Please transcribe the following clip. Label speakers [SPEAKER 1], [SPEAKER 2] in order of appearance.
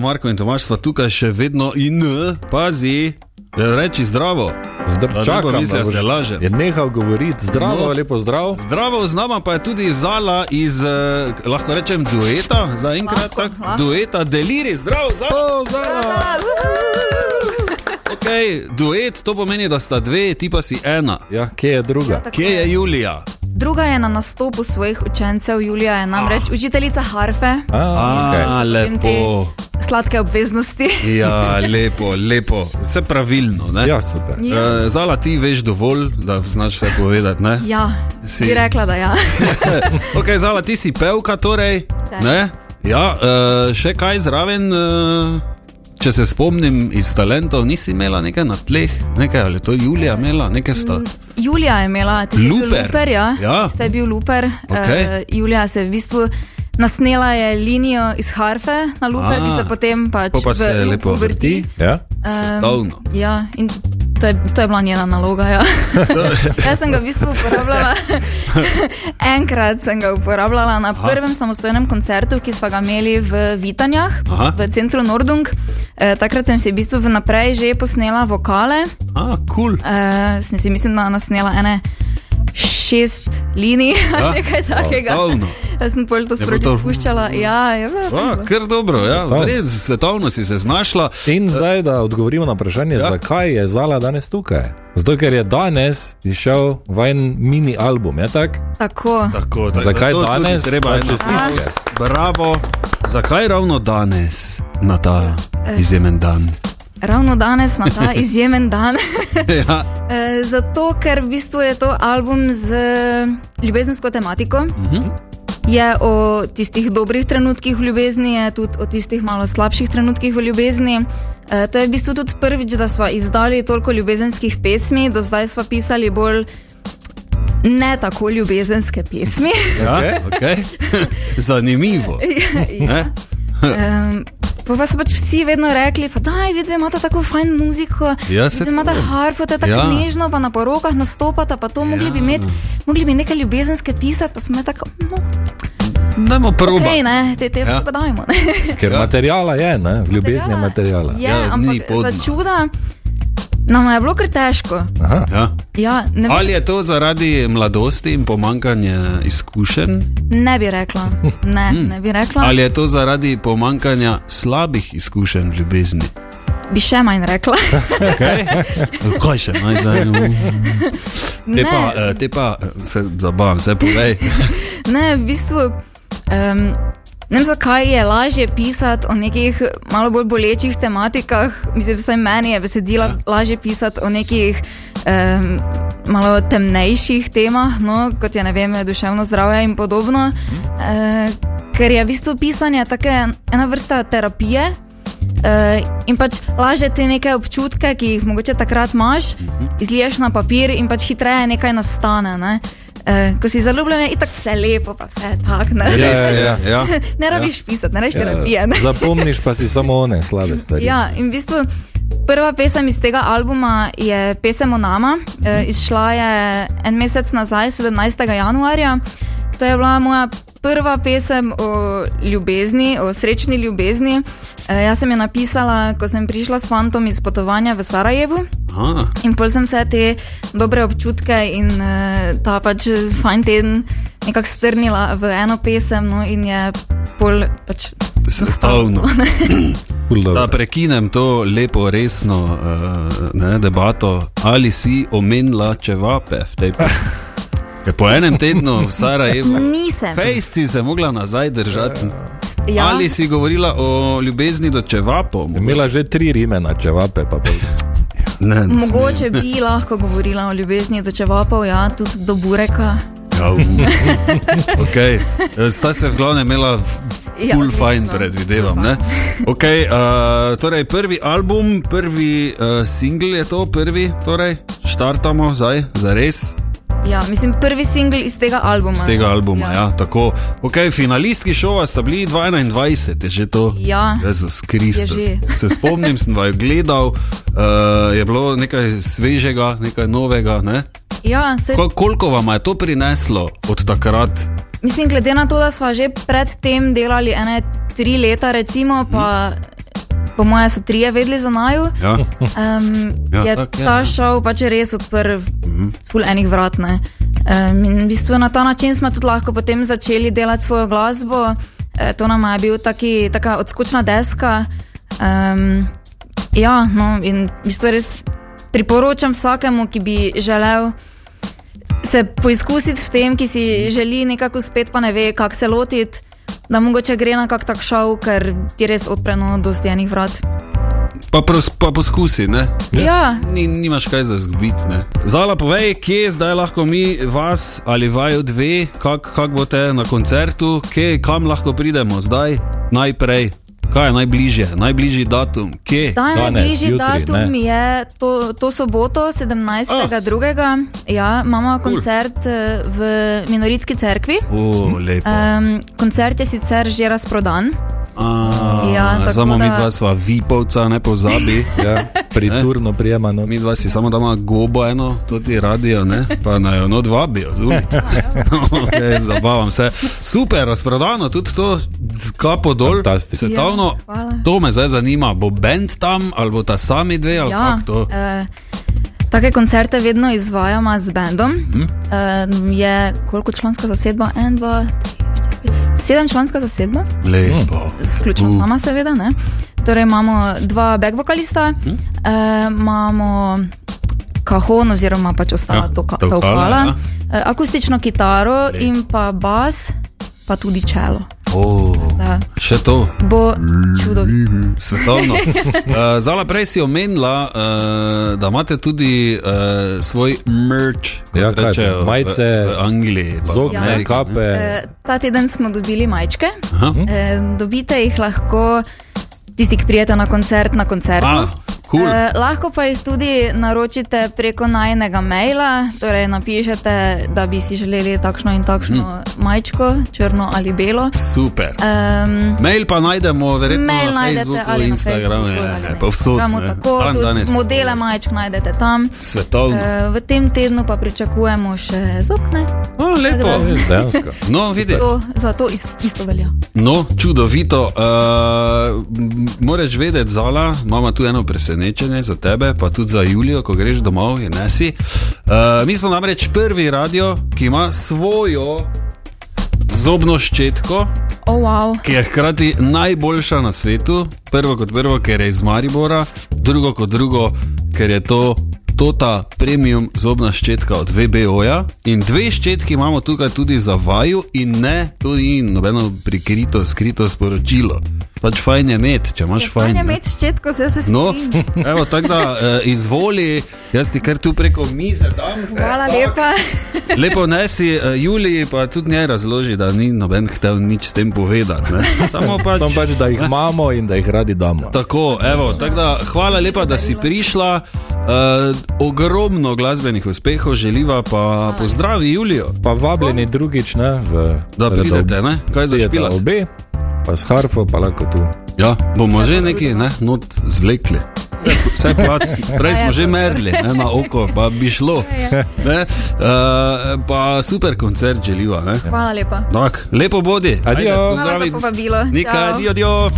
[SPEAKER 1] Marko in Tomaš sva tukaj še vedno in eh, pazi, reči zdravo.
[SPEAKER 2] Zdr,
[SPEAKER 1] Pa
[SPEAKER 2] čakam,
[SPEAKER 1] lepo misliš,
[SPEAKER 2] da boš-
[SPEAKER 1] se lažem.
[SPEAKER 2] Je nehal govoriti, zdravo,
[SPEAKER 1] No.
[SPEAKER 2] no. lepo zdrav.
[SPEAKER 1] Zdravo z nama pa je tudi Zala iz, eh, lahko rečem, dueta, za enkrat
[SPEAKER 3] Lahko,
[SPEAKER 1] tak,
[SPEAKER 3] lahko. Oh.
[SPEAKER 1] dueta, deliri, zdravo, zdravo.
[SPEAKER 2] O, zdravo.
[SPEAKER 1] Okay, duet, to pomeni, da sta dve, ti pa si ena.
[SPEAKER 2] Ja, kje je druga?
[SPEAKER 3] Tako
[SPEAKER 1] Kje je Julija?
[SPEAKER 3] Druga je na nastopu svojih učencev, Julija je namreč učiteljica harfe.
[SPEAKER 2] A, okay.
[SPEAKER 1] Ah. A,
[SPEAKER 3] Potem te
[SPEAKER 1] lepo.
[SPEAKER 3] Sladke obveznosti.
[SPEAKER 1] Ja, lepo, lepo, vse pravilno. Ne?
[SPEAKER 2] Ja, super.
[SPEAKER 3] Ja.
[SPEAKER 1] Eh, Zala, ti veš dovolj, da znaš vse povedati. Ne?
[SPEAKER 3] Ja,
[SPEAKER 1] Si-
[SPEAKER 3] bi rekla, da ja.
[SPEAKER 1] Ok, Zala, ti si pevka, torej.
[SPEAKER 3] Sem.
[SPEAKER 1] Ne? Ja, eh, še kaj zraven, eh, če se spomnim iz talentov, nisi imela nekaj na tleh, nekaj ali je to Julija imela,
[SPEAKER 3] Mm,
[SPEAKER 1] nekaj sta.
[SPEAKER 3] Julija je imela tisti
[SPEAKER 1] Luper.
[SPEAKER 3] luper ja.
[SPEAKER 1] Ja.
[SPEAKER 3] Ste bil luper.
[SPEAKER 1] Okej.
[SPEAKER 3] Eh, Julija se je v bistvu nasnela je linijo iz harfe na luper,
[SPEAKER 1] Ah.
[SPEAKER 3] ki se potem pač
[SPEAKER 1] Pol pa
[SPEAKER 3] v
[SPEAKER 1] se
[SPEAKER 3] lupu
[SPEAKER 1] lepo
[SPEAKER 3] vrti.
[SPEAKER 2] Ja?
[SPEAKER 3] Em,
[SPEAKER 1] Svetovno.
[SPEAKER 3] Ja, in to je, to je bila njena naloga. Ja. Jaz sem ga v bistvu uporabljala. Enkrat sem ga uporabljala na prvem samostojnem koncertu, ki smo ga imeli v Vitanjah,
[SPEAKER 1] Aha.
[SPEAKER 3] v centru Nordung. E, takrat sem si v bistvu vnaprej že posnela vokale,
[SPEAKER 1] A, kul. Cool.
[SPEAKER 3] e, sem si mislim, da nasnela ene. Šest linij,
[SPEAKER 1] Ja,
[SPEAKER 3] ali nekaj takega.
[SPEAKER 1] svetovno.
[SPEAKER 3] Jaz sem pol to
[SPEAKER 1] Je bilo
[SPEAKER 3] sproti
[SPEAKER 1] to-
[SPEAKER 3] spuščala. Ja, je bilo.
[SPEAKER 1] A, kar dobro, ja. Res, svetovno si se znašla.
[SPEAKER 2] In zdaj, da odgovorimo na vprašanje, ja. zakaj je Zala danes tukaj? Zato, ker je danes išel vajen mini album, je tako?
[SPEAKER 3] Tako.
[SPEAKER 1] Tako, tako,
[SPEAKER 2] Zakaj
[SPEAKER 1] to tudi
[SPEAKER 2] danes?
[SPEAKER 1] Treba
[SPEAKER 2] Pa
[SPEAKER 1] je
[SPEAKER 2] čestitke.
[SPEAKER 1] čestitati. Bravo. Zakaj ravno danes, na ta
[SPEAKER 3] Eh.
[SPEAKER 1] izjemen dan?
[SPEAKER 3] Ravno danes, na ta izjemen dan.
[SPEAKER 1] ja.
[SPEAKER 3] Eh, Zato, ker v bistvu je to album z eh, ljubezensko tematiko. Uh -huh. Je o tistih dobrih trenutkih v ljubezni, je tudi o tistih malo slabših trenutkih v ljubezni. E, to je v bistvu tudi prvič, da smo izdali toliko ljubezenskih pesmi, do zdaj smo pisali bolj ne tako ljubezenske pesmi.
[SPEAKER 1] Ja,
[SPEAKER 2] Okej.
[SPEAKER 1] okay. Zanimivo.
[SPEAKER 3] Ja.
[SPEAKER 1] Ne?
[SPEAKER 3] Em, Pa pa so pač vsi vedno rekli, da vidve imate tako fajn muziko,
[SPEAKER 1] Ja,
[SPEAKER 3] vidve
[SPEAKER 1] se
[SPEAKER 3] imate
[SPEAKER 1] to.
[SPEAKER 3] harfo, to je tako
[SPEAKER 1] Ja.
[SPEAKER 3] ja. nežno, pa na porokah nastopate, pa to mogli bi imeti, mogli bi nekaj ljubezenske pisati, pa smo imeli tako, no,
[SPEAKER 1] Dajmo proba.
[SPEAKER 3] okej, ne, te te
[SPEAKER 1] Ja.
[SPEAKER 3] ja. pa dajmo. ne.
[SPEAKER 2] Ker ja. materijala je, ne? v ljubezni je
[SPEAKER 3] Ja,
[SPEAKER 2] materijala.
[SPEAKER 3] Je,
[SPEAKER 1] Ja,
[SPEAKER 3] ja,
[SPEAKER 1] ni
[SPEAKER 3] ampak
[SPEAKER 1] podno.
[SPEAKER 3] za čuda nam je bilo kar težko.
[SPEAKER 2] Aha.
[SPEAKER 1] Ja.
[SPEAKER 3] Ja, ne,
[SPEAKER 1] Ali je to zaradi mladosti in pomankanja izkušenj,
[SPEAKER 3] ne bi rekla, ne, ne bi rekla,
[SPEAKER 1] Hmm. ali je to zaradi pomankanja slabih izkušenj v ljubezni?
[SPEAKER 3] bi še manj rekla.
[SPEAKER 1] Kaj še naj zdaj? no. Te
[SPEAKER 3] Ne.
[SPEAKER 1] pa, eh, te pa, eh, se zabavam, se povej.
[SPEAKER 3] Ne, v bistvu. Um, ne vem, zakaj je lažje pisati o nekih malo bolj bolečih tematikah. Mislim, vsaj meni je besedila ja. lažje pisati o nekih um, malo temnejših temah, no, kot je ne vem, duševno zdravje in podobno. Uh, ker je v bistvu pisanje tako ena vrsta terapije. Uh, in pač lažje te neke občutke, ki jih mogoče takrat imaš, izliješ na papir in pač hitreje nekaj nastane. Ne? Uh, ko si zaljubljen, je tako vse lepo, pa vse je tako. Ne,
[SPEAKER 2] Ja, ja, ja.
[SPEAKER 1] ja.
[SPEAKER 3] ne rabiš pisati, ne rabiš
[SPEAKER 2] Ja,
[SPEAKER 3] terapije. Ne?
[SPEAKER 2] Zapomniš pa si samo one slabe stvari.
[SPEAKER 3] Ja, in v bistvu prva pesem iz tega albuma je pesem o nama. E, izšla je en mesec nazaj, 17. januarja. To je bila moja prva pesem o ljubezni, o srečni ljubezni. E, jaz sem jo napisala, ko sem prišla s fantom iz potovanja v Sarajevu.
[SPEAKER 1] Aha,
[SPEAKER 3] In pol sem vse te dobre občutke in uh, ta pač fajn teden nekako strnila v eno pesem, no in je pol pač.
[SPEAKER 1] stavno.
[SPEAKER 2] Ful dobro.
[SPEAKER 1] Da prekinem to lepo, resno uh, ne, debato, ali si omenila čevape v tej pesmi. Ker Po enem tednu v Sarajevu.
[SPEAKER 3] Nisem.
[SPEAKER 1] Fejst si se mogla nazaj držati.
[SPEAKER 3] Ja.
[SPEAKER 1] Ja. Ali si govorila o ljubezni do čevapov?
[SPEAKER 2] Imela že tri rime na čevape, pa pol.
[SPEAKER 1] Ne, ne
[SPEAKER 3] Mogoče bi lahko govorila o ljubezni do čevapov, ja, tudi do bureka.
[SPEAKER 1] Ja, okay. Eh, Sta se v glavnem imela
[SPEAKER 3] Ja,
[SPEAKER 1] Cool,
[SPEAKER 3] odlično.
[SPEAKER 1] fajn, predvidevam. ne? Okay, uh, torej prvi album, prvi uh, singl je to, prvi, torej štartamo zdaj, za res.
[SPEAKER 3] Ja, mislim, prvi singel iz tega albuma.
[SPEAKER 1] Z tega albuma, ja.
[SPEAKER 3] Ja.
[SPEAKER 1] Ja, tako. okay, finalistki šova sta bili 2021, je že to.
[SPEAKER 3] Ja.
[SPEAKER 1] Jezus Kristus.
[SPEAKER 3] Je že.
[SPEAKER 1] Se spomnim, sem vaju gledal, uh, je bilo nekaj svežega, nekaj novega. Ne?
[SPEAKER 3] Ja, se,
[SPEAKER 1] Ko, koliko vam je to prineslo od takrat?
[SPEAKER 3] mislim, glede na to, da smo že predtem delali ene tri leta, recimo, pa po mojem so trije vedeli za naju.
[SPEAKER 1] Mhm. Ja.
[SPEAKER 3] Um,
[SPEAKER 1] Ja,
[SPEAKER 3] ja, je
[SPEAKER 1] tako je,
[SPEAKER 3] ta
[SPEAKER 1] ja.
[SPEAKER 3] šov pač res odprl ful enih vrat. ne. Um, in v bistvu na ta način smo tudi lahko potem začeli delati svojo glasbo. E, to nam je bil taki, taka odskočna deska. Um, ja, no, in v bistvu res priporočam vsakemu, ki bi želel se poizkusiti v tem, ki si želi nekako uspeti, pa ne ve, kako se lotiti. Da mogoče gre na kak tak šov, ker ti res odpreno dosti enih vrat.
[SPEAKER 1] Pa, pros, pa poskusi, ne?
[SPEAKER 2] Ja.
[SPEAKER 3] Ja,
[SPEAKER 1] Ni, nimaš kaj za zgubiti. ne. Zala, povej, kje zdaj lahko mi vas ali vaju dve, kako kak boste na koncertu, kje, kam lahko pridemo zdaj, najprej. Kaj je najbližje, najbližji datum, kje?
[SPEAKER 3] Danes,
[SPEAKER 2] Danes,
[SPEAKER 3] najbližji
[SPEAKER 2] jutri,
[SPEAKER 3] datum
[SPEAKER 2] ne. Ah.
[SPEAKER 3] je to, to soboto, 17.2. Ja, imamo koncert eh, v Minoritski cerkvi.
[SPEAKER 1] O, lepo.
[SPEAKER 3] Um, koncert je sicer že razprodan.
[SPEAKER 1] A,
[SPEAKER 3] ja, tako
[SPEAKER 1] samo mi
[SPEAKER 3] da-
[SPEAKER 1] dva sva vipovca, ne pozabi.
[SPEAKER 2] Ja, priturno prijemano.
[SPEAKER 1] Mi dva si samo dama gobo eno, tudi radio, ne? pa naj jo no dva bi odumiti. okay, zabavam se. Super, razprodano, tudi to z kapo dol.
[SPEAKER 2] Fantastično.
[SPEAKER 1] Svetovno.
[SPEAKER 3] Ja, hvala.
[SPEAKER 1] to me zdaj zanima, bo bend tam ali bo ta sami dve ali kako to.
[SPEAKER 3] eh, Take koncerte vedno izvajamo z bendom.
[SPEAKER 2] Mhm.
[SPEAKER 3] Mm. Uh, je koliko članska zasedba? En, dva, tri, štiri, pet. Sedem članska zasedba.
[SPEAKER 1] Lepo.
[SPEAKER 3] Vključno z nama, seveda. Ne? Torej imamo dva backvokalista, hm? eh, imamo kahon, oziroma pač ostala
[SPEAKER 1] Ja,
[SPEAKER 3] ja, toka,
[SPEAKER 1] tolkala,
[SPEAKER 3] tolkala, eh, akustično kitaro Lep. in pa bas, pa tudi čelo.
[SPEAKER 1] O,
[SPEAKER 3] Da.
[SPEAKER 1] še to.
[SPEAKER 3] Bo čudo.
[SPEAKER 1] Svetovno. Uh, Zala, prej si omenila, uh, da imate tudi uh, svoj merch, kot
[SPEAKER 2] Ja, kaj,
[SPEAKER 1] rečejo v-
[SPEAKER 2] majice,
[SPEAKER 1] v Angliji. pa v
[SPEAKER 2] Zogne,
[SPEAKER 1] Ameriki, ne.
[SPEAKER 2] kape.
[SPEAKER 3] Ja.
[SPEAKER 2] Hm?
[SPEAKER 3] Eh, ta teden smo dobili majčke,
[SPEAKER 1] Aha.
[SPEAKER 3] eh, dobite jih lahko tisti, ki prijete na koncert, na koncertu.
[SPEAKER 1] Ah, cool.
[SPEAKER 3] Eh, lahko pa jih tudi naročite preko najnega maila, torej napišete, da bi si želeli takšno in takšno
[SPEAKER 1] Hm.
[SPEAKER 3] mm. majčko, črno ali belo.
[SPEAKER 1] Super.
[SPEAKER 3] Um,
[SPEAKER 1] Mail pa najdemo, verjetno
[SPEAKER 3] Mail
[SPEAKER 1] na
[SPEAKER 3] najdete
[SPEAKER 1] Facebooku,
[SPEAKER 3] ali na
[SPEAKER 1] Instagramu,
[SPEAKER 3] Facebooku,
[SPEAKER 1] ne,
[SPEAKER 3] ali
[SPEAKER 1] ne,
[SPEAKER 3] na
[SPEAKER 1] povsod.
[SPEAKER 3] Instagramu,
[SPEAKER 1] ne.
[SPEAKER 3] tako,
[SPEAKER 1] Dan
[SPEAKER 3] tudi
[SPEAKER 1] danes.
[SPEAKER 3] modele majčk najdete tam.
[SPEAKER 1] Svetovno.
[SPEAKER 3] Eh, V tem tednu pa pričakujemo še zokne,
[SPEAKER 1] O, lepo.
[SPEAKER 2] Ja, Res Dejansko.
[SPEAKER 1] No, vidiš.
[SPEAKER 3] to, za to is- isto velja.
[SPEAKER 1] No, čudovito. Uh, moraš vedeti, Zala, imamo tu eno presenečenje za tebe, pa tudi za Julijo, ko greš domov in nesi. Uh, mi smo namreč prvi radio, ki ima svojo zobno ščetko,
[SPEAKER 3] Oh, wow.
[SPEAKER 1] ki je hkrati najboljša na svetu. Prvo kot prvo, ker je iz Maribora, drugo kot drugo, ker je to. Tota premium zobna ščetka od VBO-ja in dve ščetki imamo tukaj tudi za vaju, in ne, to ni nobeno prikrito, skrito sporočilo. Pač fajn je imeti, če imaš fajn.
[SPEAKER 3] Fajn je
[SPEAKER 1] ne.
[SPEAKER 3] imeti ščetko, se se
[SPEAKER 1] No,
[SPEAKER 3] strinjam.
[SPEAKER 1] evo, tako da eh, izvoli, jaz ti kar tu preko mize dam.
[SPEAKER 3] Hvala
[SPEAKER 1] Tako.
[SPEAKER 3] lepa.
[SPEAKER 1] Lepo nesi uh, Juliji, pa tudi njej razloži, da ni noben hotel nič s tem povedati. ne. Samo pač.
[SPEAKER 2] Samo pač, da jih imamo in da jih radi damo.
[SPEAKER 1] Tako, evo, tako da, hvala lepa, da si prišla. Uh, ogromno glasbenih uspehov želiva, pa pozdravi Julijo,
[SPEAKER 2] Pa vabljeni drugič, ne, v,
[SPEAKER 1] da
[SPEAKER 2] torej,
[SPEAKER 1] pridete, ne? Kaj za špila?
[SPEAKER 2] Pijeta obe, pa s harfo, pa lahko tu.
[SPEAKER 1] Ja, bomo že neki, ne, not zvlekli. Vse- Vse plač, prej smo že merili, ne, na oko, pa bi šlo. Ne, uh, pa super koncert želiva, ne?
[SPEAKER 3] Hvala lepa.
[SPEAKER 1] Tak, lepo bodi. Ajde,
[SPEAKER 2] Adijo. Hvala za
[SPEAKER 3] Hvala za
[SPEAKER 1] pozdravi.
[SPEAKER 3] povabilo.
[SPEAKER 1] Nika,
[SPEAKER 3] Ciao.
[SPEAKER 1] adijo, adijo.